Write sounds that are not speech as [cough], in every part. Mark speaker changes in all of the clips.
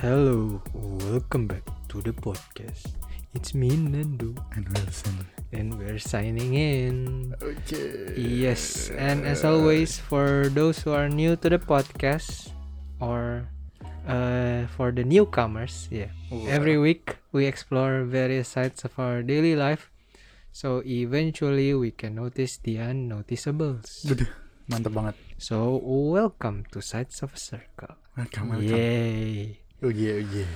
Speaker 1: Hello, welcome back to the podcast. It's me Nando
Speaker 2: and Wilson.
Speaker 1: and we're signing in.
Speaker 2: Okay.
Speaker 1: Yes, and as always for those who are new to the podcast or uh, for the newcomers, yeah. Every week we explore various sides of our daily life so eventually we can notice the unnoticeables.
Speaker 2: Waduh, mantep banget.
Speaker 1: So, welcome to Sides of a Circle.
Speaker 2: Welcome, welcome.
Speaker 1: Yay.
Speaker 2: Oh yeah, oh yeah.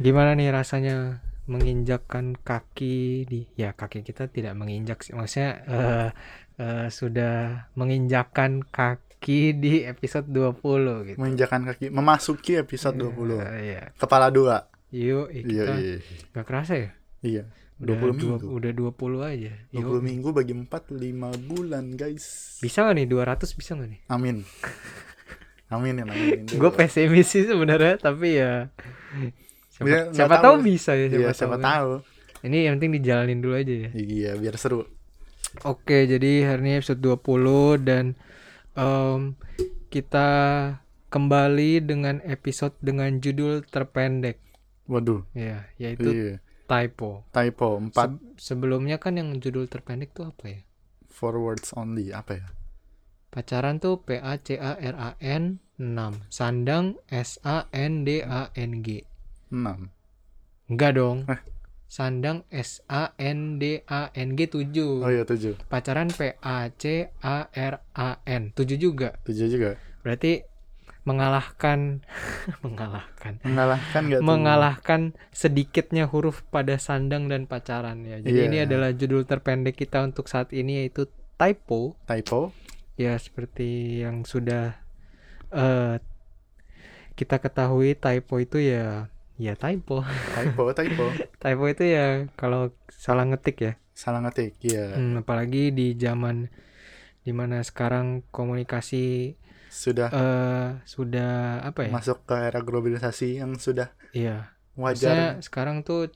Speaker 1: Gimana nih rasanya menginjakkan kaki di ya kaki kita tidak menginjak sih maksudnya eh, eh, sudah menginjakkan kaki di episode 20 gitu.
Speaker 2: Menginjakan kaki, memasuki episode 20.
Speaker 1: Eh, Iya.
Speaker 2: Kepala dua.
Speaker 1: Yuk, eh,
Speaker 2: Iya,
Speaker 1: kita
Speaker 2: iya.
Speaker 1: nggak kerasa ya?
Speaker 2: Iya.
Speaker 1: Udah
Speaker 2: 20
Speaker 1: dua-
Speaker 2: minggu.
Speaker 1: Udah 20 aja. Yuk.
Speaker 2: 20 minggu bagi 4 5 bulan, guys.
Speaker 1: Bisa nggak nih 200 bisa nggak nih?
Speaker 2: Amin. Amin ya, amin.
Speaker 1: Gue pesimis sih sebenarnya tapi ya siapa,
Speaker 2: Iya, nggak
Speaker 1: siapa
Speaker 2: tahu.
Speaker 1: tahu bisa ya siapa,
Speaker 2: Iya, siapa
Speaker 1: tahu.
Speaker 2: tahu.
Speaker 1: Ini yang penting dijalanin dulu aja ya.
Speaker 2: Iya, biar seru.
Speaker 1: Oke, jadi hari ini episode 20 dan em, kita kembali dengan episode dengan judul terpendek
Speaker 2: Waduh.
Speaker 1: ya, yaitu
Speaker 2: Iya.
Speaker 1: typo.
Speaker 2: Typo 4
Speaker 1: Se- sebelumnya kan yang judul terpendek tuh apa ya?
Speaker 2: forwards only apa ya?
Speaker 1: Pacaran tuh P A C A R A N 6. Sandang S A N D A N G.
Speaker 2: 6.
Speaker 1: Enggak dong.
Speaker 2: Hah?
Speaker 1: Sandang S A N D A N G 7.
Speaker 2: Oh iya 7.
Speaker 1: Pacaran P A C A R A N 7 juga.
Speaker 2: 7 juga.
Speaker 1: berarti mengalahkan [laughs] mengalahkan
Speaker 2: Mengalahkan enggak tuh?
Speaker 1: mengalahkan sedikitnya huruf pada sandang dan pacaran ya jadi
Speaker 2: Iya.
Speaker 1: ini adalah judul terpendek kita untuk saat ini yaitu typo
Speaker 2: Typo.
Speaker 1: ya seperti yang sudah eh, kita ketahui typo itu ya ya typo [laughs]
Speaker 2: Typo, typo.
Speaker 1: typo itu ya kalau salah ngetik ya
Speaker 2: Salah ngetik, iya.
Speaker 1: Hmm, apalagi di zaman dimana sekarang komunikasi
Speaker 2: Sudah
Speaker 1: eh sudah apa ya
Speaker 2: masuk ke era globalisasi yang sudah
Speaker 1: iya Maksudnya
Speaker 2: wajar
Speaker 1: sekarang tuh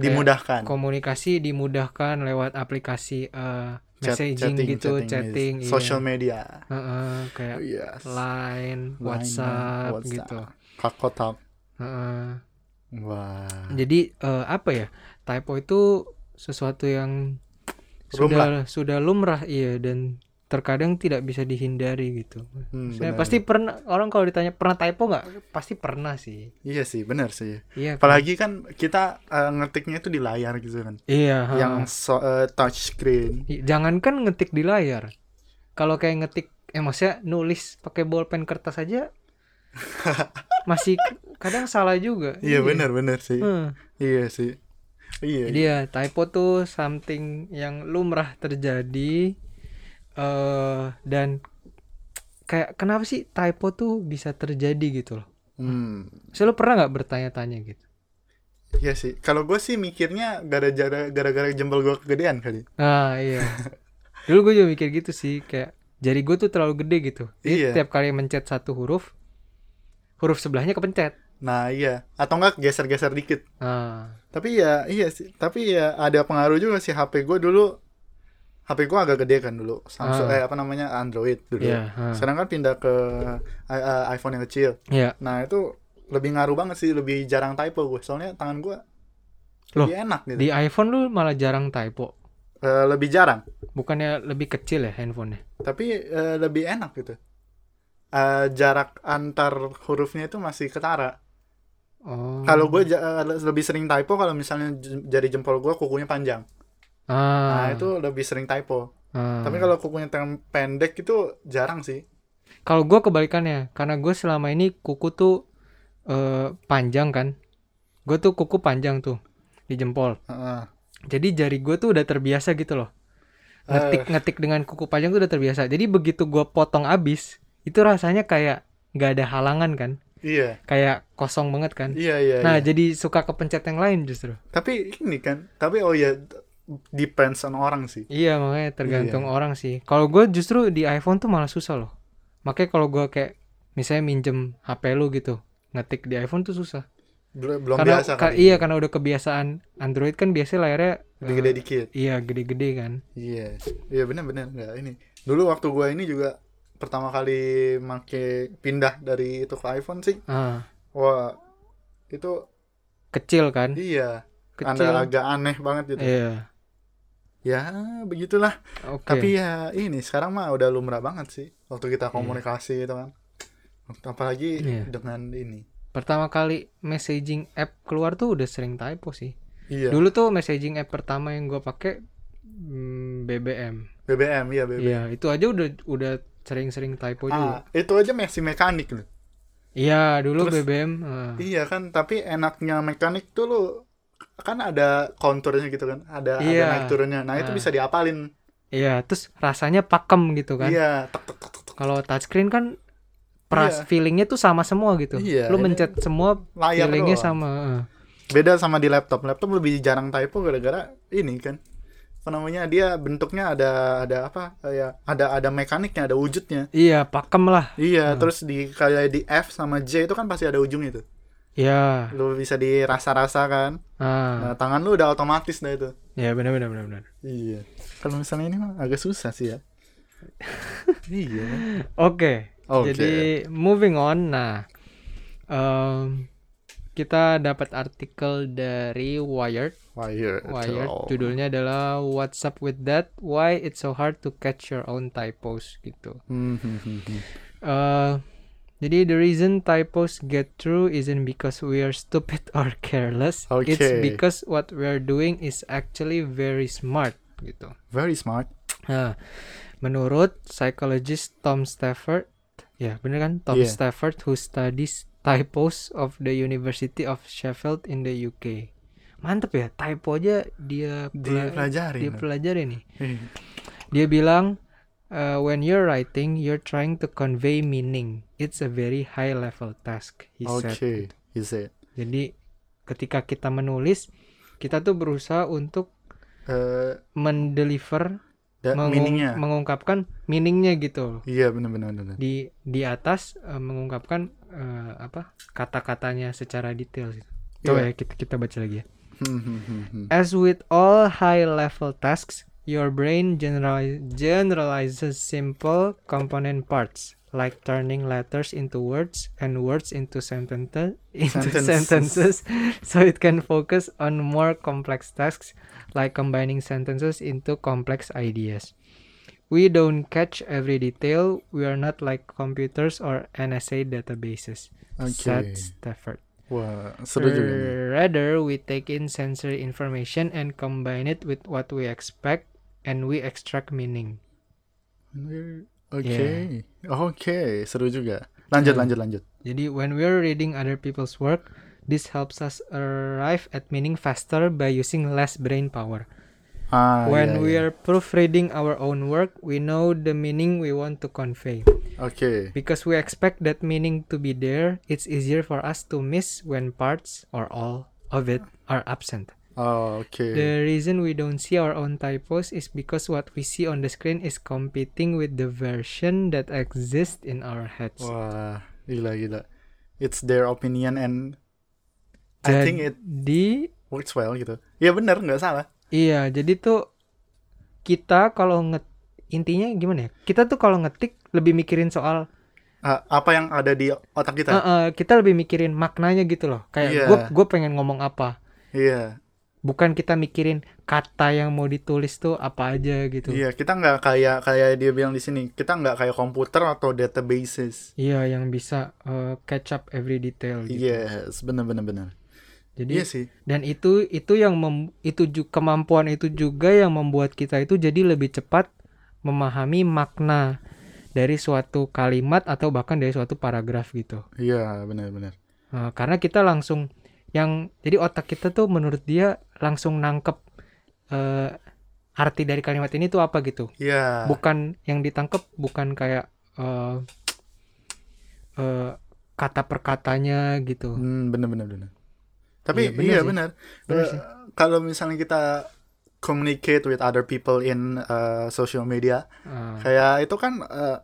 Speaker 2: dimudahkan.
Speaker 1: komunikasi dimudahkan lewat aplikasi eh,
Speaker 2: Chat-
Speaker 1: messaging gitu, chatting, iya.
Speaker 2: yes.
Speaker 1: Ya,
Speaker 2: social media. Oh,
Speaker 1: Heeh, kayak
Speaker 2: Yes.
Speaker 1: Line,
Speaker 2: Line,
Speaker 1: WhatsApp,
Speaker 2: WhatsApp.
Speaker 1: gitu.
Speaker 2: Kakotap.
Speaker 1: Heeh.
Speaker 2: Wah.
Speaker 1: Jadi eh, apa ya? Typo itu sesuatu yang sudah sudah lumrah iya dan terkadang tidak bisa dihindari gitu.
Speaker 2: Hmm,
Speaker 1: Maksudnya
Speaker 2: benar.
Speaker 1: pasti pernah orang kalau ditanya pernah typo nggak? Pasti pernah sih.
Speaker 2: Iya sih, benar sih.
Speaker 1: Iya. kan?
Speaker 2: Apalagi kan kita eh, ngetiknya itu di layar gitu kan.
Speaker 1: Iya. heeh.
Speaker 2: Yang so- eh, touch screen.
Speaker 1: I- Jangankan ngetik di layar. Kalau kayak ngetik eh maksudnya nulis pakai bolpen kertas
Speaker 2: [laughs]
Speaker 1: aja masih k- kadang salah juga.
Speaker 2: Iya, benar benar sih.
Speaker 1: Heeh.
Speaker 2: Iya sih. Iya.
Speaker 1: Hmm. Jadi ya typo tuh something yang lumrah terjadi eh dan kayak kenapa sih typo tuh bisa terjadi gitu loh.
Speaker 2: Hmm.
Speaker 1: Selalu pernah nggak bertanya-tanya gitu.
Speaker 2: Iya sih. Kalau gue sih mikirnya gara-gara gara-gara jempol gue kegedean kali.
Speaker 1: Nah,
Speaker 2: [laughs]
Speaker 1: iya. Dulu gue juga mikir gitu sih, kayak jari gue tuh terlalu gede gitu. Jadi
Speaker 2: Iya.
Speaker 1: tiap kali mencet satu huruf, huruf sebelahnya kepencet.
Speaker 2: Nah, iya. Atau enggak geser-geser dikit.
Speaker 1: Nah,
Speaker 2: Tapi ya iya sih. Tapi ya ada pengaruh juga sih HP gue dulu. HP gue agak gede kan dulu. Samsung
Speaker 1: Ah.
Speaker 2: eh apa namanya Android dulu.
Speaker 1: iya. ha.
Speaker 2: Sekarang kan pindah ke i- eh, iPhone yang kecil.
Speaker 1: Iya.
Speaker 2: Nah itu lebih ngaruh banget sih. Lebih jarang typo gue. Soalnya tangan gue
Speaker 1: Loh,
Speaker 2: lebih enak gitu.
Speaker 1: Di iPhone lu malah jarang typo.
Speaker 2: Eh, lebih jarang.
Speaker 1: Bukannya lebih kecil ya handphonenya?
Speaker 2: Tapi eh, lebih enak gitu. Eh, jarak antar hurufnya itu masih ketara.
Speaker 1: Hmm. Oh.
Speaker 2: Kalau gue ja- eh, lebih sering typo kalau misalnya j- jari jempol gue kukunya panjang.
Speaker 1: ah,
Speaker 2: Nah itu lebih sering typo.
Speaker 1: ah.
Speaker 2: Tapi kalau kukunya tangan pendek itu jarang sih.
Speaker 1: kalau gue kebalikannya, karena gue selama ini kuku tuh eh, panjang kan. Gue tuh kuku panjang tuh di jempol.
Speaker 2: Heeh.
Speaker 1: Jadi jari gue tuh udah terbiasa gitu loh.
Speaker 2: Eh.
Speaker 1: Ngetik ngetik dengan kuku panjang tuh udah terbiasa. Jadi begitu gue potong abis, itu rasanya kayak nggak ada halangan kan?
Speaker 2: Iya,
Speaker 1: Kayak kosong banget kan?
Speaker 2: iya, iya.
Speaker 1: Nah,
Speaker 2: iya.
Speaker 1: jadi suka kepencet yang lain justru.
Speaker 2: Tapi ini kan, tapi oh iya, depends on orang sih.
Speaker 1: Iya makanya tergantung orang sih. Kalau gue justru di iPhone tuh malah susah loh. Makanya kalau gue kayak misalnya minjem HP lu gitu, ngetik di iPhone tuh susah.
Speaker 2: Bel- belum
Speaker 1: karena
Speaker 2: biasa
Speaker 1: ka-
Speaker 2: kali.
Speaker 1: iya karena udah kebiasaan Android kan biasanya layarnya
Speaker 2: Lebih
Speaker 1: eh,
Speaker 2: gede dikit.
Speaker 1: iya gede-gede kan.
Speaker 2: Iya. Iya benar-benar enggak ini. Dulu waktu gua ini juga pertama kali make pindah dari itu ke iPhone sih.
Speaker 1: Ah,
Speaker 2: Wah, itu
Speaker 1: kecil kan?
Speaker 2: iya,
Speaker 1: Kecil.
Speaker 2: anda agak aneh banget gitu.
Speaker 1: Iya.
Speaker 2: Ya, begitulah.
Speaker 1: Oke.
Speaker 2: Tapi ya ini sekarang mah udah lumrah banget sih waktu kita komunikasi itu kan. Apalagi
Speaker 1: Iya.
Speaker 2: dengan ini.
Speaker 1: pertama kali messaging app keluar tuh udah sering typo sih.
Speaker 2: Iya,
Speaker 1: Dulu tuh messaging app pertama yang gua pakai mm, BBM.
Speaker 2: BBM, iya BBM.
Speaker 1: Iya, itu aja udah udah sering-sering typo juga.
Speaker 2: Ah, itu aja masih mekanik loh.
Speaker 1: Iya, dulu
Speaker 2: Terus-
Speaker 1: BBM. ah.
Speaker 2: Iya kan, tapi enaknya mekanik tuh lo kan ada konturnya gitu kan, ada
Speaker 1: Iya.
Speaker 2: ada naik turunnya. Nah, itu
Speaker 1: Ah.
Speaker 2: bisa diapalin.
Speaker 1: Iya, terus rasanya pakem gitu kan.
Speaker 2: Iya, tek tek tek tek, tek.
Speaker 1: Kalau touchscreen kan pras
Speaker 2: Iya.
Speaker 1: feelingnya tuh sama semua gitu.
Speaker 2: Iya,
Speaker 1: Lu
Speaker 2: ini
Speaker 1: mencet semua
Speaker 2: layar
Speaker 1: feelingnya
Speaker 2: doang.
Speaker 1: sama. ah.
Speaker 2: Beda sama di laptop. Laptop lebih jarang typo gara-gara ini kan. Apa namanya? Dia bentuknya ada ada apa? Ya, ada ada mekaniknya, ada wujudnya.
Speaker 1: Iya, pakem lah.
Speaker 2: Iya, terus di kayak di F sama J itu kan pasti ada ujungnya tuh.
Speaker 1: Iya.
Speaker 2: Lu bisa dirasa-rasa kan.
Speaker 1: Ah,
Speaker 2: Nah, tangan lu udah otomatis dah itu.
Speaker 1: ya benar benar benar benar.
Speaker 2: Iya. Kalau misalnya ini mah agak susah sih ya. [laughs] iya.
Speaker 1: Oke.
Speaker 2: Oke.
Speaker 1: Jadi moving on. Nah, em, kita dapat artikel dari Wired.
Speaker 2: Wire.
Speaker 1: Wired judulnya adalah What's Up with That? Why It's So Hard to Catch Your Own Typos gitu.
Speaker 2: Hmm,
Speaker 1: Eh, jadi the reason typos get through isn't because we are stupid [laughs] or careless. It's
Speaker 2: Okay.
Speaker 1: because what we're doing is actually very smart gitu.
Speaker 2: Very smart.
Speaker 1: Nah, menurut psychologist Tom Stafford, ya bener kan Tom
Speaker 2: Iya.
Speaker 1: Stafford who studies typos of the University of Sheffield in the UK. Mantep ya, typo aja dia pela-
Speaker 2: Dipelajari.
Speaker 1: dia pelajari nih.
Speaker 2: Iya.
Speaker 1: Dia bilang "Uh, when you're writing, you're trying to convey meaning. It's a very high level task, he
Speaker 2: Oke.
Speaker 1: said.
Speaker 2: He said.
Speaker 1: Jadi ketika kita menulis, kita tuh berusaha untuk
Speaker 2: Eh,
Speaker 1: mendeliver
Speaker 2: da-
Speaker 1: mengung-
Speaker 2: meaningnya.
Speaker 1: mengungkapkan meaningnya gitu
Speaker 2: Iya benar-benar. benar.
Speaker 1: di di atas eh, mengungkapkan eh, apa kata-katanya secara detail gitu. Coba ya kita kita baca lagi ya.
Speaker 2: Hmm, hmm, hmm, hmm.
Speaker 1: As with all high level tasks, your brain generali- generalizes simple component parts like turning letters into words and words into sentences into
Speaker 2: Sentences.
Speaker 1: sentences [laughs] so it can focus on more complex tasks like combining sentences into complex ideas. We don't catch every detail. We are not like computers or NSA databases.
Speaker 2: Oke.
Speaker 1: Said Stafford.
Speaker 2: Wah, seru juga. nih.
Speaker 1: Rather, we take in sensory information and combine it with what we expect, and we extract meaning. Uh,
Speaker 2: Oke. Oke, seru juga. Lanjut, lanjut, lanjut.
Speaker 1: Jadi, when we're reading other people's work, this helps us arrive at meaning faster by using less brain power.
Speaker 2: Ah,
Speaker 1: when
Speaker 2: iya,
Speaker 1: we
Speaker 2: iya.
Speaker 1: are proofreading our own work, we know the meaning we want to convey.
Speaker 2: Oke.
Speaker 1: Because we expect that meaning to be there, it's easier for us to miss when parts or all of it are absent.
Speaker 2: Oh, Oke.
Speaker 1: The reason we don't see our own typos is because what we see on the screen is competing with the version that exists in our heads.
Speaker 2: Wah, gila gila. It's their opinion and I think it
Speaker 1: Jadi,
Speaker 2: works well gitu. Ya benar, nggak salah.
Speaker 1: iya, jadi tuh kita kalau nget intinya gimana ya? Kita tuh kalau ngetik lebih mikirin soal
Speaker 2: Ah, apa yang ada di
Speaker 1: eh,
Speaker 2: otak kita?
Speaker 1: eh, kita lebih mikirin maknanya gitu loh.
Speaker 2: Iya.
Speaker 1: Kayak gue gue pengen ngomong apa.
Speaker 2: Iya.
Speaker 1: Bukan kita mikirin kata yang mau ditulis tuh apa aja gitu.
Speaker 2: Iya, kita nggak kayak kayak dia bilang di sini, kita nggak kayak komputer atau databases.
Speaker 1: Iya, yang bisa eh, catch up every detail gitu.
Speaker 2: Yes, benar benar benar.
Speaker 1: Jadi
Speaker 2: Iya sih.
Speaker 1: dan itu itu yang mem, itu ju- kemampuan itu juga yang membuat kita itu jadi lebih cepat memahami makna dari suatu kalimat atau bahkan dari suatu paragraf gitu
Speaker 2: Iya, benar benar.
Speaker 1: Nah, karena kita langsung yang jadi otak kita tuh menurut dia langsung nangkep eh, arti dari kalimat ini tuh apa gitu
Speaker 2: Iya.
Speaker 1: bukan yang ditangkep bukan kayak eh, eh, kata per katanya gitu
Speaker 2: Hmm, benar benar benar.
Speaker 1: Iya,
Speaker 2: Tapi
Speaker 1: benar
Speaker 2: iya
Speaker 1: sih.
Speaker 2: benar.
Speaker 1: Benar
Speaker 2: Eh,
Speaker 1: sih.
Speaker 2: Kalau misalnya kita communicate with other people in eh, social media,
Speaker 1: Ah,
Speaker 2: kayak itu kan eh,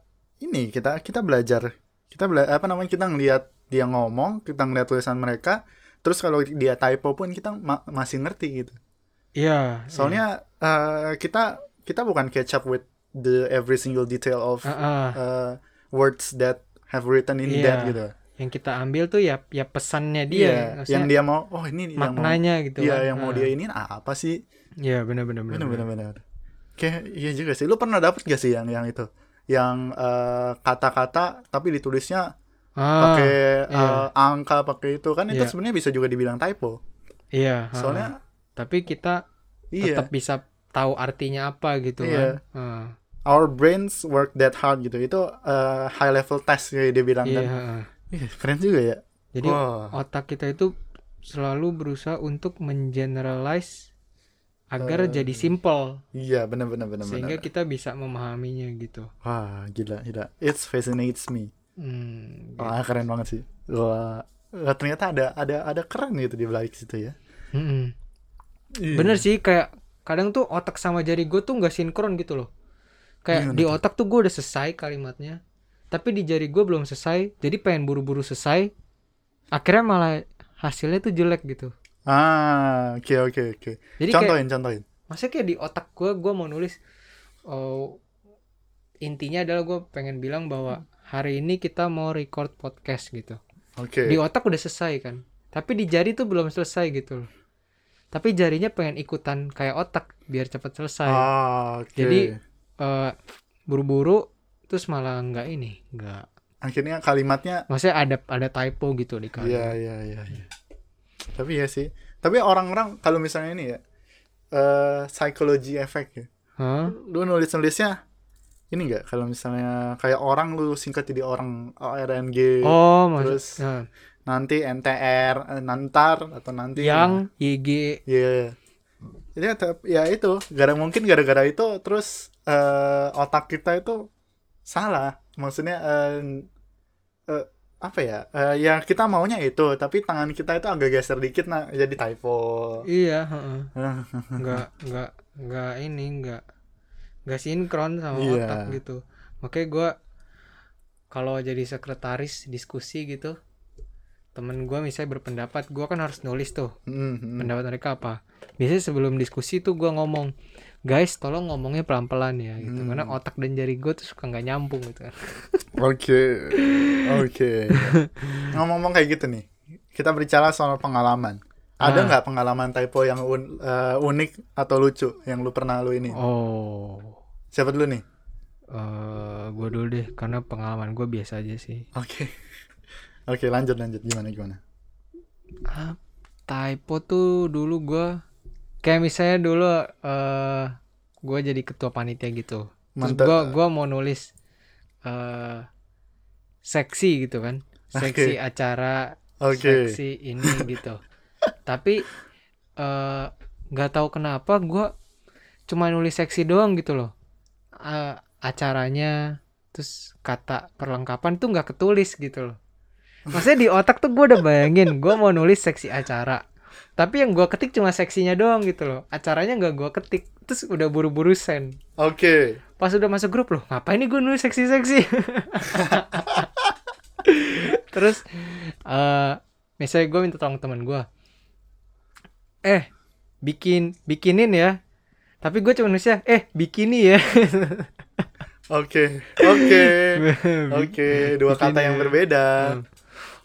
Speaker 2: ini kita kita belajar kita bela apa namanya kita ngelihat dia ngomong kita ngelihat tulisan mereka terus kalau dia typo pun kita ma- masih ngerti gitu
Speaker 1: Iya.
Speaker 2: soalnya eh, kita kita bukan catch up with the every single detail of
Speaker 1: iya. Ah, ah.
Speaker 2: uh, words that have written in
Speaker 1: Iya.
Speaker 2: that gitu.
Speaker 1: yang kita ambil tuh ya ya pesannya
Speaker 2: Iya,
Speaker 1: dia,
Speaker 2: yang
Speaker 1: maksudnya
Speaker 2: dia mau oh ini yang mau
Speaker 1: maknanya gitu.
Speaker 2: Iya,
Speaker 1: kan.
Speaker 2: yang mau
Speaker 1: Ah.
Speaker 2: dia ini apa sih?
Speaker 1: Iya, benar-benar
Speaker 2: Benar benar benar. Kayak iya juga sih. Lu pernah dapet gak sih yang yang itu? Yang eh, kata-kata tapi ditulisnya
Speaker 1: Ah,
Speaker 2: pakai
Speaker 1: iya.
Speaker 2: eh, angka, pakai itu kan itu
Speaker 1: Iya.
Speaker 2: sebenarnya bisa juga dibilang typo.
Speaker 1: iya. ah, ah.
Speaker 2: Soalnya
Speaker 1: tapi kita
Speaker 2: iya,
Speaker 1: tetap bisa tahu artinya apa gitu
Speaker 2: Iya.
Speaker 1: kan. Ah,
Speaker 2: our brains work that hard gitu. Itu eh, high level test ya dia bilang
Speaker 1: iya.
Speaker 2: kan.
Speaker 1: ah.
Speaker 2: Iya, keren juga ya.
Speaker 1: Jadi oh.
Speaker 2: Wah.
Speaker 1: otak kita itu selalu berusaha untuk mengeneralize agar
Speaker 2: Eh,
Speaker 1: jadi simple
Speaker 2: Iya, benar benar benar
Speaker 1: sehingga
Speaker 2: benar.
Speaker 1: kita bisa memahaminya gitu.
Speaker 2: Wah, gila gila. It fascinates me.
Speaker 1: Hmm, gitu.
Speaker 2: Wah keren banget sih. Wah wah, ternyata ada ada ada keren gitu di balik situ ya.
Speaker 1: Mm-mm.
Speaker 2: Iya.
Speaker 1: Bener sih kayak kadang tuh otak sama jari gue tuh nggak sinkron gitu loh. Kayak
Speaker 2: Gimana
Speaker 1: di otak tuh gue udah selesai kalimatnya, tapi di jari gue belum selesai. Jadi pengen buru-buru selesai. Akhirnya malah hasilnya tuh jelek gitu.
Speaker 2: Ah oke oke oke.
Speaker 1: Jadi kayak
Speaker 2: Contohin contohin.
Speaker 1: maksudnya kayak di otak gue gue mau nulis oh, intinya adalah gue pengen bilang bahwa hari ini kita mau record podcast gitu.
Speaker 2: Oke.
Speaker 1: Di otak udah selesai kan, tapi di jari tuh belum selesai gitu. loh. Tapi jarinya pengen ikutan kayak otak biar cepet selesai.
Speaker 2: Ah oke.
Speaker 1: Jadi- eh, buru-buru terus malah nggak ini nggak
Speaker 2: akhirnya kalimatnya
Speaker 1: maksudnya ada ada typo gitu di kalimat
Speaker 2: iya iya iya. iya. Tapi ya sih. Tapi orang-orang kalau misalnya ini ya eh psychology effect ya.
Speaker 1: Hah?
Speaker 2: Lu nulis-nulisnya ini enggak kalau misalnya kayak orang lu singkat jadi orang ORNG
Speaker 1: oh maksud
Speaker 2: terus
Speaker 1: nah,
Speaker 2: nanti NTR eh, nantar atau nanti
Speaker 1: yang YG
Speaker 2: Iya. Jadi tetap- ya itu, gara mungkin gara-gara itu terus eh, otak kita itu salah. Maksudnya eh, eh, apa ya? Eh, ya kita maunya itu, tapi tangan kita itu agak geser dikit nah jadi typo.
Speaker 1: iya
Speaker 2: [laughs]
Speaker 1: heeh. nggak nggak nggak ini nggak nggak sinkron sama
Speaker 2: Iya.
Speaker 1: otak gitu makanya gua kalau jadi sekretaris diskusi gitu temen gua misalnya berpendapat gua kan harus nulis tuh
Speaker 2: Hmm, hmm.
Speaker 1: pendapat mereka apa biasanya sebelum diskusi tuh gua ngomong guys tolong ngomongnya pelan pelan ya gitu
Speaker 2: Hmm.
Speaker 1: karena otak dan jari gue tuh suka nggak nyambung gitu kan
Speaker 2: Oke. Oke. [laughs] Ngomong-ngomong kayak gitu nih. Kita berbicara soal pengalaman. Ada
Speaker 1: Ah.
Speaker 2: nggak pengalaman typo yang un- eh, unik atau lucu yang lu pernah lu ini?
Speaker 1: oh
Speaker 2: Siapa dulu nih?
Speaker 1: eh gue dulu deh karena pengalaman gue biasa aja sih
Speaker 2: Oke. Oke, lanjut lanjut gimana gimana.
Speaker 1: ah, typo tuh dulu gua kayak misalnya dulu eh gue jadi ketua panitia gitu terus
Speaker 2: Mantap.
Speaker 1: gue gua mau nulis eh seksi gitu
Speaker 2: [laughs]
Speaker 1: kan seksi acara
Speaker 2: Oke.
Speaker 1: seksi ini gitu tapi eh, nggak tahu kenapa gua cuma nulis seksi doang gitu loh Eh, acaranya terus kata perlengkapan tuh nggak ketulis gitu loh maksudnya di otak tuh gua udah bayangin gua mau nulis seksi acara tapi yang gua ketik cuma seksinya doang gitu loh acaranya nggak gua ketik terus udah buru-buru send
Speaker 2: Oke.
Speaker 1: pas udah masuk grup loh ngapain nih gue nulis seksi-seksi [laughs] terus eh misalnya gue minta tolong teman gue eh bikin bikinin ya tapi gue cuma nulisnya eh bikini ya [laughs]
Speaker 2: Oke. Oke. Oke, dua
Speaker 1: Bikin
Speaker 2: kata yang
Speaker 1: ya.
Speaker 2: berbeda.
Speaker 1: Hmm.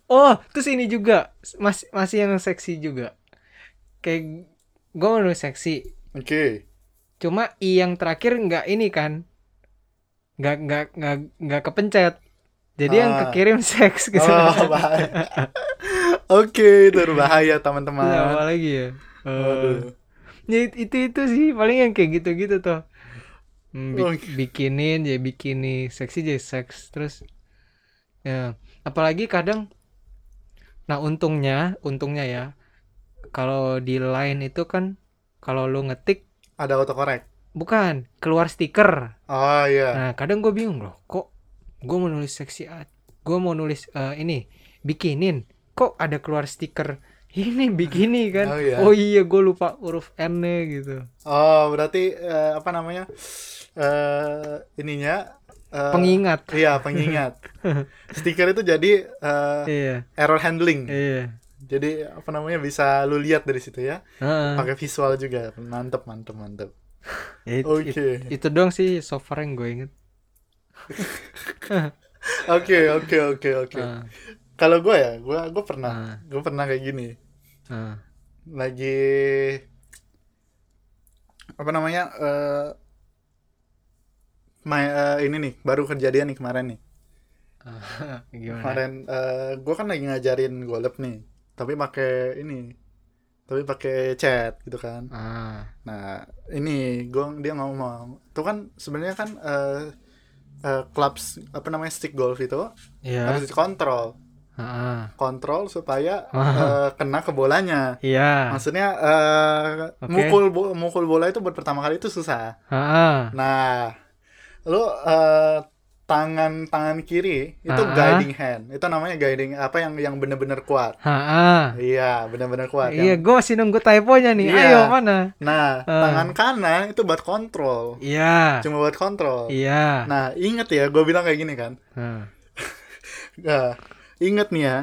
Speaker 1: oh terus ini juga masih masih yang seksi juga kayak gue mau nulis seksi
Speaker 2: Oke.
Speaker 1: cuma i yang terakhir nggak ini kan nggak nggak nggak nggak kepencet jadi yang
Speaker 2: Ah.
Speaker 1: kekirim [laughs] seks gitu
Speaker 2: Oh, [laughs] bahaya. Oke, itu berbahaya
Speaker 1: Terus
Speaker 2: teman-teman.
Speaker 1: apa lagi ya Eh,
Speaker 2: Waduh.
Speaker 1: ya it- itu itu sih paling yang kayak gitu gitu tuh Hmm, bi-
Speaker 2: Oke.
Speaker 1: bikinin jadi bikini seksi jadi seks terus ya apalagi kadang nah untungnya untungnya ya kalau di line itu kan kalau lu ngetik
Speaker 2: Ada autocorrect.
Speaker 1: bukan keluar stiker
Speaker 2: Oh iya.
Speaker 1: Nah, kadang gue bingung loh, kok gue mau nulis seksi art, gue mau nulis eh, ini bikinin, kok ada keluar stiker ini [laughs] bikini kan?
Speaker 2: Oh, iya.
Speaker 1: gue lupa huruf N-nya gitu.
Speaker 2: Oh, berarti eh, apa namanya? Eh ininya eh,
Speaker 1: Pengingat. [laughs]
Speaker 2: Iya, pengingat. Stiker itu jadi eh,
Speaker 1: Iya,
Speaker 2: error handling.
Speaker 1: iya.
Speaker 2: Jadi apa namanya bisa lu lihat dari situ ya.
Speaker 1: Heeh.
Speaker 2: Pakai visual juga. Mantep, mantep, mantep.
Speaker 1: It-
Speaker 2: Oke.
Speaker 1: it- itu doang sih so far yang gue inget.
Speaker 2: Oke, oke, oke, oke.
Speaker 1: Heeh.
Speaker 2: Kalau gue ya, gue gue pernah,
Speaker 1: Ah.
Speaker 2: gue pernah kayak gini.
Speaker 1: Heeh.
Speaker 2: Lagi apa namanya? eh my- eh, ini nih, baru kejadian nih kemarin nih.
Speaker 1: Gimana?
Speaker 2: Kemarin eh gue kan lagi ngajarin golep nih, tapi pakai ini, tapi pakai chat gitu kan.
Speaker 1: Ah,
Speaker 2: Nah, ini gong dia ngomong. Itu kan sebenarnya kan eh eh, clubs apa namanya stick golf itu
Speaker 1: ya.
Speaker 2: harus dikontrol,
Speaker 1: Heeh.
Speaker 2: kontrol
Speaker 1: [laughs]
Speaker 2: supaya
Speaker 1: Wah.
Speaker 2: eh, kena ke bolanya.
Speaker 1: Iya.
Speaker 2: Maksudnya eh
Speaker 1: Oke.
Speaker 2: mukul bo- mukul bola itu buat pertama kali itu susah.
Speaker 1: Heeh.
Speaker 2: Nah, lu eh tangan tangan kiri itu
Speaker 1: Ah.
Speaker 2: guiding hand. Itu namanya guiding apa yang yang bener-bener kuat.
Speaker 1: Heeh.
Speaker 2: Iya, bener-bener kuat.
Speaker 1: Iya,
Speaker 2: Yang-
Speaker 1: gue masih nunggu typonya nih.
Speaker 2: Iya.
Speaker 1: Ayo mana?
Speaker 2: Nah,
Speaker 1: Ah.
Speaker 2: tangan kanan itu buat kontrol.
Speaker 1: Iya.
Speaker 2: Cuma buat kontrol.
Speaker 1: Iya.
Speaker 2: Nah, inget ya, gue bilang kayak gini kan.
Speaker 1: Heeh.
Speaker 2: Nah, inget nih ya,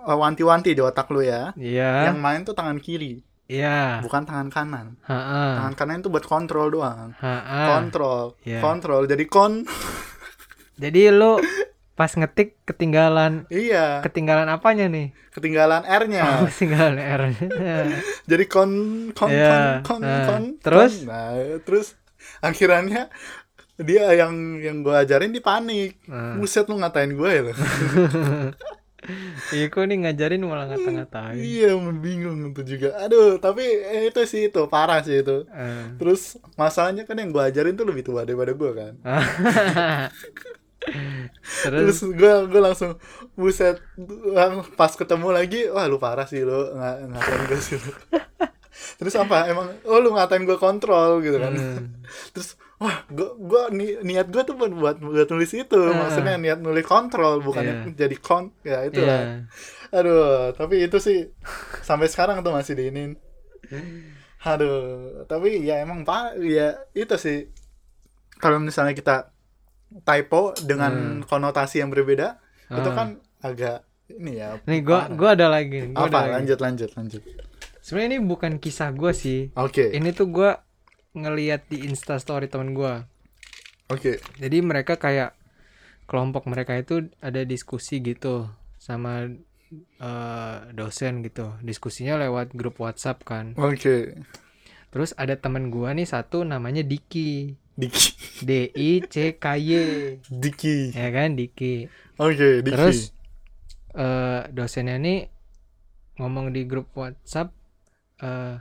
Speaker 2: wanti-wanti di otak lu ya.
Speaker 1: Iya.
Speaker 2: Yang main tuh tangan kiri,
Speaker 1: Iya.
Speaker 2: bukan tangan kanan.
Speaker 1: Heeh.
Speaker 2: Tangan kanan itu buat kontrol doang.
Speaker 1: Heeh.
Speaker 2: Kontrol,
Speaker 1: Ah. Iya.
Speaker 2: kontrol. Jadi kon, [laughs]
Speaker 1: Jadi lu pas ngetik ketinggalan
Speaker 2: iya,
Speaker 1: ketinggalan apanya nih?
Speaker 2: ketinggalan
Speaker 1: Oh,
Speaker 2: R-nya.
Speaker 1: [laughs] ketinggalan R.
Speaker 2: [laughs]
Speaker 1: [laughs]
Speaker 2: Jadi kon, kon,
Speaker 1: Iya.
Speaker 2: kon, kon,
Speaker 1: Nah,
Speaker 2: kon,
Speaker 1: terus?
Speaker 2: kon. Nah, terus akhirnya dia yang yang gue ajarin di panik.
Speaker 1: Nah.
Speaker 2: Buset lu ngatain gue ya. lu.
Speaker 1: [laughs] Iya, kok nih ngajarin malah ngata-ngatain.
Speaker 2: iya, bingung itu juga. Aduh, tapi eh, itu sih itu parah sih itu.
Speaker 1: Eh. [laughs]
Speaker 2: Terus masalahnya kan yang gue ajarin tuh lebih tua daripada gue kan.
Speaker 1: Terus
Speaker 2: Terus gue gue langsung buset lang- pas ketemu lagi, wah lu parah sih lu nga- ngatain gue sih lu. Terus apa? Emang oh lu ngatain gue kontrol gitu kan.
Speaker 1: Hmm.
Speaker 2: [laughs] Terus wah gue gue ni- niat gue tuh buat buat buat nulis itu,
Speaker 1: Hmm.
Speaker 2: maksudnya niat nulis kontrol bukannya jadi kon ya itu lah.
Speaker 1: iya.
Speaker 2: Aduh, tapi itu sih sampai sekarang tuh masih diinin. Aduh, tapi ya emang pak ya itu sih kalau misalnya kita typo
Speaker 1: Hmm.
Speaker 2: dengan konotasi yang berbeda itu
Speaker 1: Ah.
Speaker 2: kan agak ini ya.
Speaker 1: Nih gua
Speaker 2: parah.
Speaker 1: gua ada lagi. nih, Gua
Speaker 2: apa
Speaker 1: ada lagi.
Speaker 2: lanjut lanjut lanjut.
Speaker 1: Sebenarnya ini bukan kisah gua sih.
Speaker 2: Oke
Speaker 1: Ini tuh gua ngeliat di Insta story teman gua.
Speaker 2: oke
Speaker 1: Jadi mereka kayak kelompok mereka itu ada diskusi gitu sama eh, dosen gitu. Diskusinya lewat grup WhatsApp kan.
Speaker 2: oke.
Speaker 1: Terus ada teman gua nih satu namanya Diki.
Speaker 2: Diki
Speaker 1: D I C K Y.
Speaker 2: Diki.
Speaker 1: Ya kan Diki.
Speaker 2: Oke Diki.
Speaker 1: Terus eh, dosennya nih ngomong di grup WhatsApp eh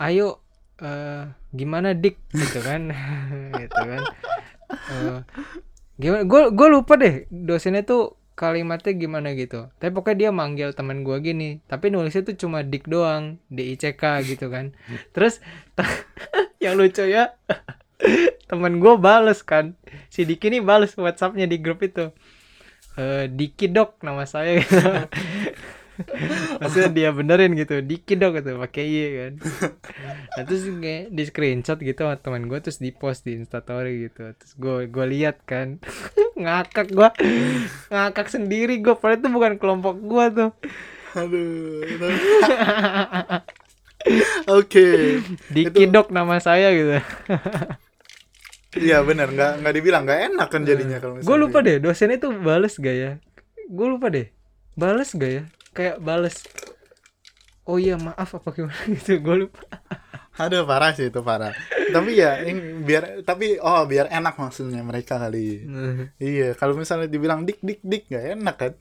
Speaker 1: ayo eh, gimana dik gitu kan [laughs] gitu kan Eh, gimana gue gue lupa deh dosennya tuh kalimatnya gimana gitu tapi pokoknya dia manggil teman gua gini tapi nulisnya tuh cuma dik doang d i c k gitu kan terus [laughs] ta- yang lucu ya [laughs] teman gua bales kan si Diki nih bales WhatsAppnya di grup itu eh Diki dok nama saya maksudnya dia benerin gitu Diki dok gitu pakai y kan nah, terus kayak di screenshot gitu sama teman gue terus di post di instastory gitu terus gue gue lihat kan [laughs] ngakak gue ngakak sendiri gue padahal itu bukan kelompok gue tuh
Speaker 2: Aduh. [laughs] Oke.
Speaker 1: Diki dok nama saya gitu
Speaker 2: Iya benar nggak nggak dibilang nggak enak kan jadinya kalau misalnya.
Speaker 1: gue Hmm. lupa deh dosennya tuh bales gak ya gue lupa deh bales gak ya kayak bales oh iya maaf apa gimana [laughs] gitu gue lupa
Speaker 2: Aduh parah sih itu parah. tapi ya ini biar tapi oh biar enak maksudnya mereka kali.
Speaker 1: Hmm.
Speaker 2: Iya, kalau misalnya dibilang dik dik dik nggak enak kan?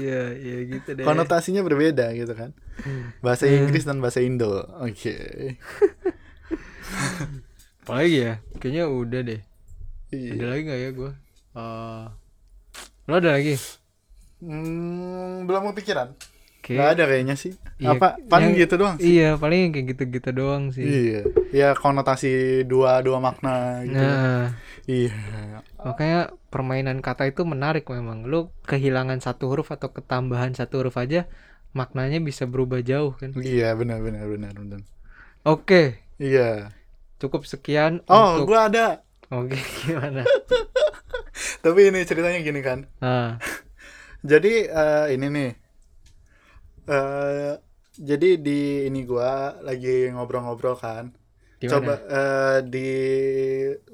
Speaker 1: Iya, iya Hmm. gitu deh.
Speaker 2: Konotasinya berbeda gitu kan. Bahasa Inggris dan bahasa Indo. Oke.
Speaker 1: Apalagi ya? Kayaknya udah deh. Ada
Speaker 2: Iya.
Speaker 1: lagi gak ya gua? Eh, lo ada lagi?
Speaker 2: Hmm, belum kepikiran.
Speaker 1: Oke.
Speaker 2: Nggak ada kayaknya sih.
Speaker 1: Iya,
Speaker 2: Apa paling
Speaker 1: yang-
Speaker 2: gitu doang sih.
Speaker 1: Iya, paling kayak gitu-gitu doang sih.
Speaker 2: Iya. Ya konotasi dua dua makna gitu.
Speaker 1: Nah,
Speaker 2: Iya.
Speaker 1: makanya permainan kata itu menarik memang. Lu kehilangan satu huruf atau ketambahan satu huruf aja maknanya bisa berubah jauh kan.
Speaker 2: Iya, benar benar benar benar.
Speaker 1: Oke,
Speaker 2: Iya.
Speaker 1: cukup sekian
Speaker 2: Oh,
Speaker 1: untuk
Speaker 2: gua ada.
Speaker 1: Oke, [laughs] gimana? Ah,
Speaker 2: Tapi ini ceritanya gini kan.
Speaker 1: Nah,
Speaker 2: Jadi eh, ini nih. eh jadi di ini gua lagi ngobrol-ngobrol kan.
Speaker 1: Gimana?
Speaker 2: Coba eh, di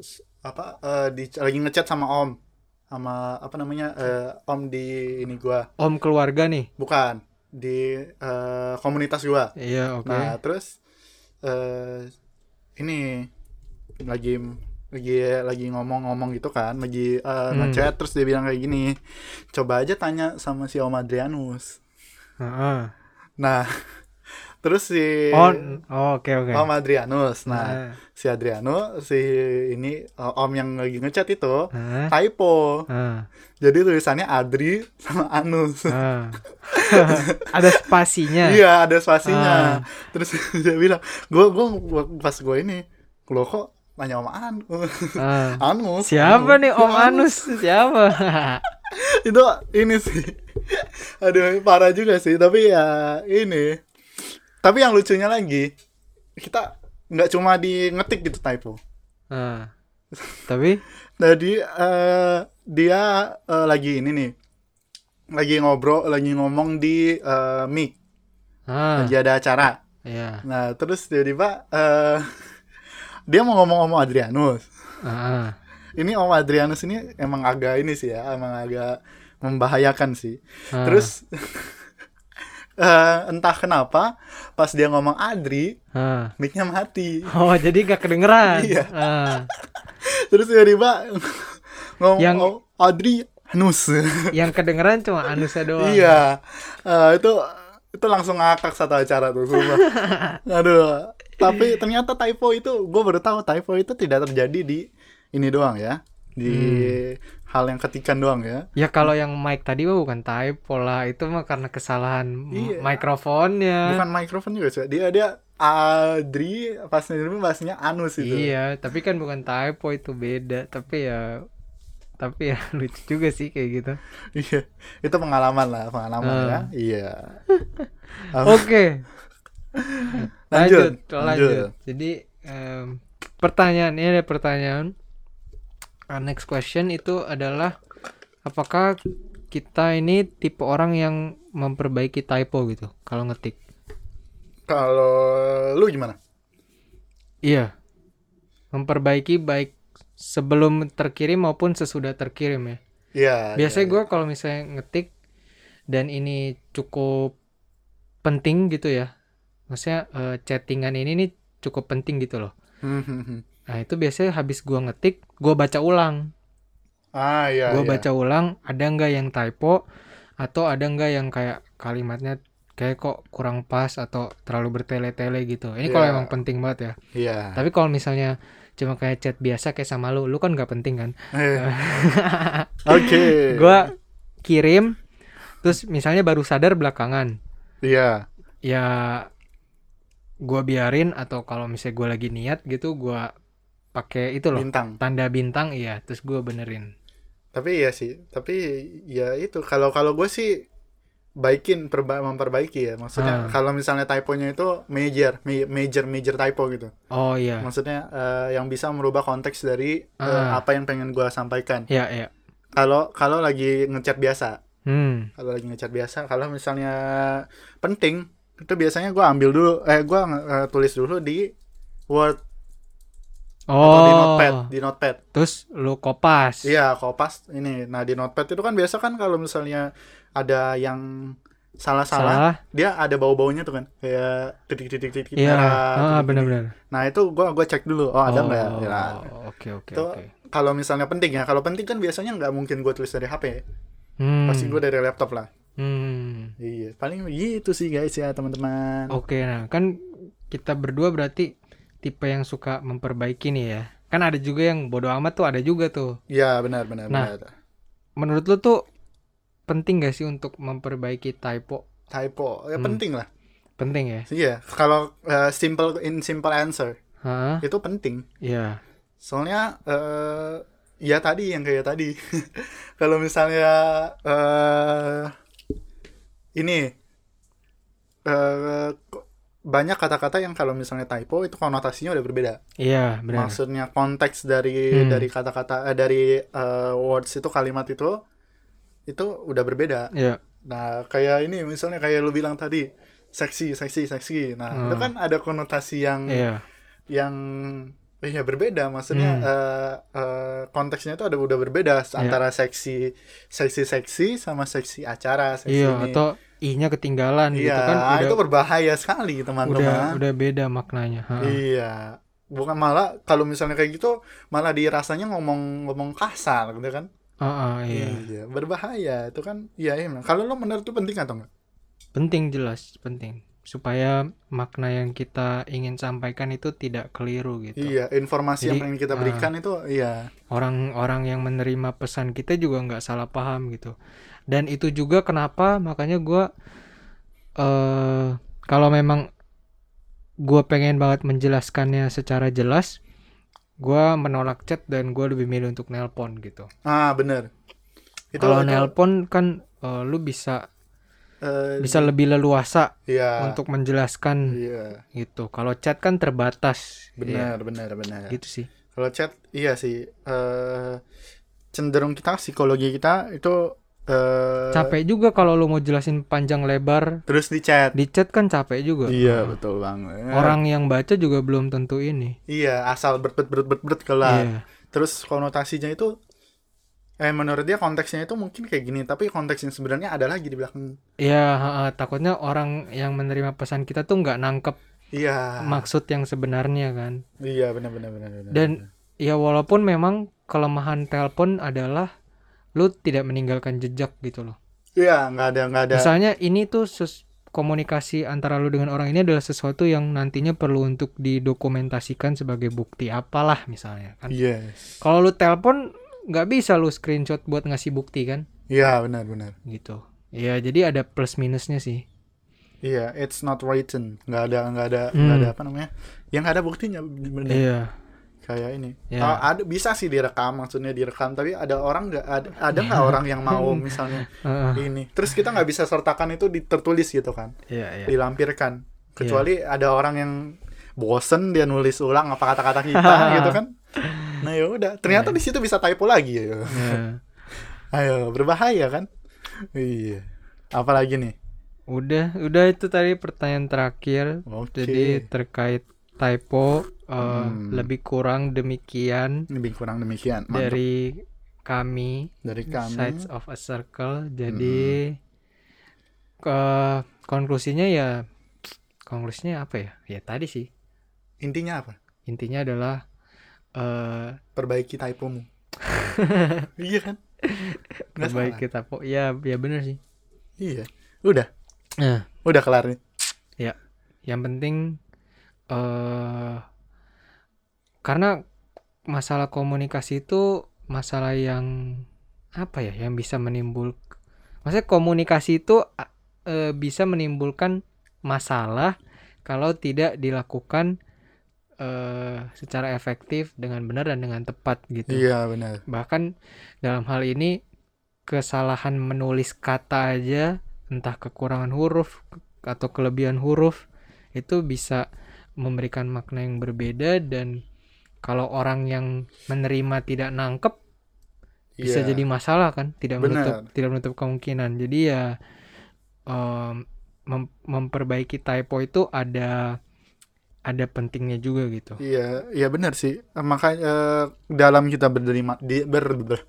Speaker 2: s- apa eh, di lagi ngechat sama Om sama apa namanya eh, Om di ini gua
Speaker 1: Om keluarga nih.
Speaker 2: bukan di eh, komunitas gua.
Speaker 1: Iya, oke.
Speaker 2: Nah, terus eh ini lagi lagi lagi ngomong-ngomong gitu kan, lagi eh,
Speaker 1: Hmm.
Speaker 2: ngechat terus dia bilang kayak gini. Coba aja tanya sama si Om Adrianus.
Speaker 1: Heeh.
Speaker 2: Nah, [laughs] terus si
Speaker 1: Oh, n- oh, oke oke.
Speaker 2: Om Adrianus. Nah,
Speaker 1: Heeh.
Speaker 2: si Adriano si ini eh, Om yang lagi ngechat itu
Speaker 1: Heeh.
Speaker 2: typo.
Speaker 1: Heeh.
Speaker 2: Jadi tulisannya Adri sama Anus.
Speaker 1: Heeh. Ah.
Speaker 2: [laughs]
Speaker 1: Ada spasinya.
Speaker 2: gitu. Iya
Speaker 1: Ah.
Speaker 2: ada spasinya. Terus [laughs] dia bilang, gue gue pas gue ini, lo kok nanya om An [laughs]
Speaker 1: Heeh. Ah.
Speaker 2: Anus?
Speaker 1: Siapa nih Om
Speaker 2: Ya,
Speaker 1: Anus? Siapa? [laughs]
Speaker 2: Itu ini sih, [laughs] aduh parah juga sih. Tapi ya ini, tapi yang lucunya lagi kita nggak cuma di ngetik gitu typo.
Speaker 1: Heeh. Ah. Tapi
Speaker 2: Jadi eh, dia eh, lagi ini nih, lagi ngobrol, lagi ngomong di eh, mic,
Speaker 1: heeh.
Speaker 2: lagi ada acara.
Speaker 1: Ah, Iya.
Speaker 2: Nah, terus tiba-tiba eh, [laughs] dia mau ngomong-ngomong Adrianus.
Speaker 1: Heeh.
Speaker 2: Ini Om Adrianus ini emang agak ini sih ya, emang agak membahayakan sih.
Speaker 1: Ah.
Speaker 2: Terus [laughs] eh, entah kenapa pas dia ngomong Adri,
Speaker 1: Heeh.
Speaker 2: mic-nya mati.
Speaker 1: Ah. Oh, jadi gak kedengeran. Ah.
Speaker 2: Iya.
Speaker 1: Heeh.
Speaker 2: Terus tiba-tiba [laughs] ngomong
Speaker 1: Yang-
Speaker 2: "Oh, Adri Hanus. [laughs]
Speaker 1: Yang kedengeran cuma anusnya doang.
Speaker 2: iya. Eh, itu itu langsung ngakak satu acara tuh,
Speaker 1: [laughs]
Speaker 2: sumpah. Aduh. Tapi ternyata typo itu gue baru tahu typo itu tidak terjadi di ini doang ya. Di
Speaker 1: Hmm.
Speaker 2: hal yang ketikan doang ya.
Speaker 1: Ya kalau yang mic tadi mah bukan typo lah, itu mah karena kesalahan
Speaker 2: Iya.
Speaker 1: m- mikrofonnya.
Speaker 2: Bukan mikrofon juga sih. Dia dia Adri pas ngirim bahasanya anus itu.
Speaker 1: Iya, tapi kan bukan typo itu beda, tapi ya tapi ya [laughs] lucu juga sih kayak gitu.
Speaker 2: [laughs] Iya. Itu pengalaman lah, pengalaman
Speaker 1: Ah.
Speaker 2: ya. Iya.
Speaker 1: [laughs] Oke.
Speaker 2: Lanjut,
Speaker 1: lanjut, lanjut. Jadi em, pertanyaan ini ada pertanyaan. Our next question itu adalah apakah kita ini tipe orang yang memperbaiki typo gitu kalau ngetik?
Speaker 2: Kalau lu gimana?
Speaker 1: Iya. Memperbaiki baik sebelum terkirim maupun sesudah terkirim ya.
Speaker 2: Iya.
Speaker 1: Biasanya
Speaker 2: iya.
Speaker 1: gue kalau misalnya ngetik dan ini cukup penting gitu ya. Maksudnya eh, chattingan ini nih cukup penting gitu loh.
Speaker 2: Hmm, hmm, hmm.
Speaker 1: Nah itu biasanya habis gue ngetik, gue baca ulang.
Speaker 2: ah iya.
Speaker 1: Gue
Speaker 2: iya.
Speaker 1: baca ulang ada nggak yang typo atau ada nggak yang kayak kalimatnya kayak kok kurang pas atau terlalu bertele-tele gitu. Ini kalau
Speaker 2: Iya.
Speaker 1: emang penting banget ya.
Speaker 2: Iya.
Speaker 1: [laughs] Tapi kalau misalnya cuma kayak chat biasa kayak sama lu, lu kan nggak penting kan?
Speaker 2: Eh. Oke.
Speaker 1: Gua kirim, terus misalnya baru sadar belakangan,
Speaker 2: Iya.
Speaker 1: ya gua biarin atau kalau misalnya gua lagi niat gitu, gua pakai itu Gitu loh
Speaker 2: Bintang.
Speaker 1: tanda bintang, iya, terus gua benerin.
Speaker 2: tapi ya sih tapi ya itu kalau kalau gue sih baikin perba memperbaiki ya
Speaker 1: Ah.
Speaker 2: maksudnya kalau misalnya typonya itu major ma- major major typo gitu
Speaker 1: Oh iya,
Speaker 2: maksudnya eh, yang bisa merubah konteks dari eh,
Speaker 1: Ah.
Speaker 2: apa yang pengen gue sampaikan
Speaker 1: ya ya,
Speaker 2: kalau kalau lagi ngechat biasa
Speaker 1: hmm,
Speaker 2: kalau lagi ngechat biasa kalau misalnya penting itu biasanya gue ambil dulu eh gue eh, tulis dulu di Word atau di Notepad
Speaker 1: oh,
Speaker 2: di Notepad
Speaker 1: terus lu kopas,
Speaker 2: Iya, kopas ini. Nah, di notepad itu kan biasa kan kalau misalnya ada yang salah-salah,
Speaker 1: salah,
Speaker 2: dia ada bau-baunya tuh kan. Kayak titik-titik-titik
Speaker 1: iya, ah
Speaker 2: merah. titik-titik.
Speaker 1: benar-benar,
Speaker 2: Nah, itu gua gua cek dulu. Oh, ada
Speaker 1: Oh,
Speaker 2: nggak? Ya.
Speaker 1: oke oke
Speaker 2: Itu
Speaker 1: oke,
Speaker 2: Kalau misalnya penting ya. Kalau penting kan biasanya nggak mungkin gua tulis dari HP.
Speaker 1: hmm,
Speaker 2: Pasti gua dari laptop lah.
Speaker 1: hmm.
Speaker 2: Iya, paling gitu sih guys ya, teman-teman.
Speaker 1: Oke, nah kan kita berdua berarti tipe yang suka memperbaiki nih ya. Kan ada juga yang bodoh amat tuh ada juga tuh.
Speaker 2: Iya, benar benar
Speaker 1: Nah.
Speaker 2: benar.
Speaker 1: Menurut lu tuh penting gak sih untuk memperbaiki typo?
Speaker 2: Typo, ya
Speaker 1: Hmm.
Speaker 2: penting lah.
Speaker 1: Penting ya?
Speaker 2: Iya, kalau eh, simple in simple answer
Speaker 1: Hah?
Speaker 2: itu penting.
Speaker 1: Iya.
Speaker 2: soalnya eh ya tadi yang kayak tadi [laughs] kalau misalnya eh ini eh ko- banyak kata-kata yang kalau misalnya typo itu konotasinya udah berbeda
Speaker 1: Iya, benar.
Speaker 2: maksudnya konteks dari
Speaker 1: Hmm.
Speaker 2: dari kata-kata eh, dari eh, words itu kalimat itu itu udah berbeda
Speaker 1: Iya.
Speaker 2: Nah, kayak ini misalnya kayak lu bilang tadi seksi, seksi, seksi. Nah, itu
Speaker 1: Hmm.
Speaker 2: kan ada konotasi yang
Speaker 1: Iya.
Speaker 2: yang eh, ya berbeda maksudnya
Speaker 1: Hmm. Iya.
Speaker 2: eh, eh, konteksnya itu ada udah berbeda antara seksi seksi seksi sama seksi acara seksi
Speaker 1: Iya,
Speaker 2: ini.
Speaker 1: atau i-nya ketinggalan
Speaker 2: iya
Speaker 1: gitu kan udah
Speaker 2: itu berbahaya sekali gitu,
Speaker 1: udah
Speaker 2: teman-teman
Speaker 1: udah beda maknanya. Ha.
Speaker 2: iya bukan malah kalau misalnya kayak gitu malah dirasanya ngomong-ngomong kasar gitu kan
Speaker 1: Ah, ah, iya.
Speaker 2: berbahaya itu kan iya iya benar. kalau lo menurut itu penting atau enggak
Speaker 1: Penting jelas, penting supaya makna yang kita ingin sampaikan itu tidak keliru gitu.
Speaker 2: iya informasi yang
Speaker 1: Jadi,
Speaker 2: pengen kita
Speaker 1: ah.
Speaker 2: berikan itu iya
Speaker 1: Orang-orang yang menerima pesan kita juga nggak salah paham gitu. Dan itu juga kenapa makanya gua eh kalau memang gua pengen banget menjelaskannya secara jelas, gua menolak chat dan gua lebih milih untuk nelpon gitu.
Speaker 2: ah bener itu
Speaker 1: Kalau
Speaker 2: itu,
Speaker 1: nelpon kan eh, lu bisa
Speaker 2: eh,
Speaker 1: bisa lebih leluasa
Speaker 2: iya
Speaker 1: untuk menjelaskan
Speaker 2: iya
Speaker 1: gitu. Kalau chat kan terbatas.
Speaker 2: benar benar benar
Speaker 1: Iya, gitu sih.
Speaker 2: Kalau chat, iya sih. eh cenderung kita psikologi kita itu eh
Speaker 1: Capek juga kalau lu mau jelasin panjang lebar
Speaker 2: terus di chat.
Speaker 1: di chat kan capek juga.
Speaker 2: Iya betul banget.
Speaker 1: Orang yang baca juga belum tentu ini. Iya.
Speaker 2: iya asal berbet berbet berbet kelar. Terus konotasinya itu, eh menurut dia konteksnya itu mungkin kayak gini, tapi konteks yang sebenarnya ada lagi di belakang.
Speaker 1: Iya, ha-ha, takutnya orang yang menerima pesan kita tuh nggak nangkep
Speaker 2: Iya.
Speaker 1: maksud yang sebenarnya kan.
Speaker 2: iya benar benar benar. benar,
Speaker 1: Dan- Ya walaupun memang kelemahan telepon adalah lu tidak meninggalkan jejak gitu loh.
Speaker 2: benar. iya nggak ada nggak ada.
Speaker 1: Misalnya ini tuh ses- komunikasi antara lu dengan orang ini adalah sesuatu yang nantinya perlu untuk didokumentasikan sebagai bukti apalah misalnya kan.
Speaker 2: Iya.
Speaker 1: Kalau lu telepon nggak bisa lu screenshot buat ngasih bukti kan
Speaker 2: Iya benar benar.
Speaker 1: gitu. Ya jadi ada plus minusnya sih.
Speaker 2: Iya, it's not written. Nggak ada nggak ada nggak
Speaker 1: Hmm.
Speaker 2: ada apa namanya? Yang nggak ada buktinya benar.
Speaker 1: Iya.
Speaker 2: kayak ini
Speaker 1: Ya.
Speaker 2: Ah, ada bisa sih direkam maksudnya direkam tapi ada orang nggak ada ada nggak orang yang mau misalnya
Speaker 1: Heeh.
Speaker 2: ini terus kita nggak bisa sertakan itu di- tertulis gitu kan
Speaker 1: Iya iya.
Speaker 2: dilampirkan kecuali ada orang yang bosen dia nulis ulang apa kata-kata kita gitu kan nah ya udah ternyata di situ bisa typo lagi ya
Speaker 1: Iya.
Speaker 2: ayo berbahaya kan iya apalagi nih
Speaker 1: Udah udah itu tadi pertanyaan terakhir.
Speaker 2: oke
Speaker 1: Jadi terkait typo eh,
Speaker 2: Hmm.
Speaker 1: lebih kurang demikian
Speaker 2: lebih kurang demikian mantap dari,
Speaker 1: dari kami
Speaker 2: kami Hmm.
Speaker 1: sides of a circle. Jadi ke konklusinya ya konklusinya apa ya? Ya tadi sih.
Speaker 2: intinya apa
Speaker 1: Intinya adalah eh
Speaker 2: perbaiki typomu iya kan Nggak salah.
Speaker 1: perbaiki tapo. Ya ya benar sih.
Speaker 2: Iya. Udah,
Speaker 1: Nah,
Speaker 2: udah kelar nih.
Speaker 1: yang penting eh karena masalah komunikasi itu masalah yang apa ya yang bisa menimbul maksudnya komunikasi itu a- eh, bisa menimbulkan masalah kalau tidak dilakukan eh secara efektif dengan benar dan dengan tepat gitu
Speaker 2: Iya, benar.
Speaker 1: bahkan dalam hal ini kesalahan menulis kata aja entah kekurangan huruf ke- atau kelebihan huruf itu bisa memberikan makna yang berbeda dan kalau orang yang menerima tidak nangkep bisa
Speaker 2: Iya.
Speaker 1: jadi masalah kan tidak
Speaker 2: Benar.
Speaker 1: menutup tidak menutup kemungkinan jadi ya em, mem- memperbaiki typo itu ada ada pentingnya juga gitu
Speaker 2: Iya, iya benar sih. Eh, Makanya eh, dalam kita berderima di ber, ber-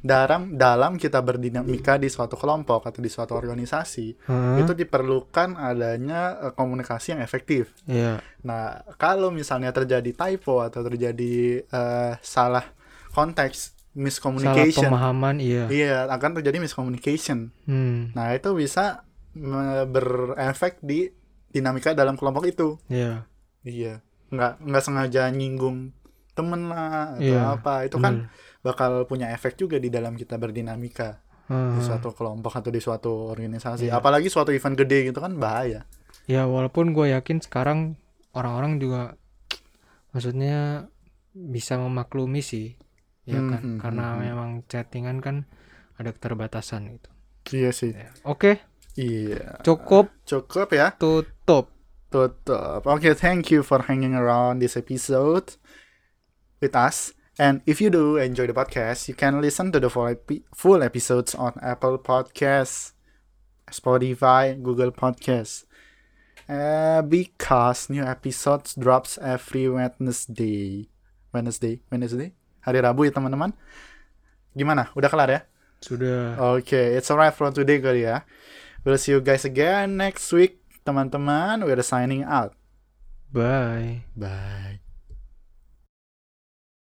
Speaker 2: dalam dalam kita berdinamika di suatu kelompok atau di suatu organisasi
Speaker 1: Heeh.
Speaker 2: itu diperlukan adanya eh, komunikasi yang efektif.
Speaker 1: Iya.
Speaker 2: Nah, kalau misalnya terjadi typo atau terjadi eh, salah konteks
Speaker 1: salah
Speaker 2: miscommunication,
Speaker 1: pemahaman iya
Speaker 2: iya akan terjadi miscommunication.
Speaker 1: hmm
Speaker 2: Nah, itu bisa me- berefek di dinamika dalam kelompok itu.
Speaker 1: iya
Speaker 2: Iya. Nggak nggak sengaja nyinggung temen lah atau
Speaker 1: Iya,
Speaker 2: apa. Itu kan bakal punya efek juga di dalam kita berdinamika di suatu kelompok atau di suatu organisasi.
Speaker 1: Iya.
Speaker 2: Apalagi suatu event gede gitu kan bahaya.
Speaker 1: Ya walaupun gue yakin sekarang orang-orang juga maksudnya bisa memaklumi sih, ya
Speaker 2: Hmm,
Speaker 1: kan?
Speaker 2: hmm,
Speaker 1: Karena
Speaker 2: hmm, hmm.
Speaker 1: memang chattingan kan ada keterbatasan gitu.
Speaker 2: Iya sih.
Speaker 1: Ya. Oke,
Speaker 2: Iya.
Speaker 1: cukup
Speaker 2: Cukup ya.
Speaker 1: tutup.
Speaker 2: Tutup. Oke, thank you for hanging around this episode with us. And if you do enjoy the podcast, you can listen to the full, epi- full episodes on Apple Podcasts, Spotify, Google Podcast. Uh, because new episodes drops every Wednesday. Wednesday, Wednesday, hari Rabu ya teman-teman. Gimana? Udah kelar ya?
Speaker 1: Sudah.
Speaker 2: Oke, it's alright for today kali ya. We'll see you guys again next week, teman-teman. We're signing out.
Speaker 1: Bye.
Speaker 2: Bye.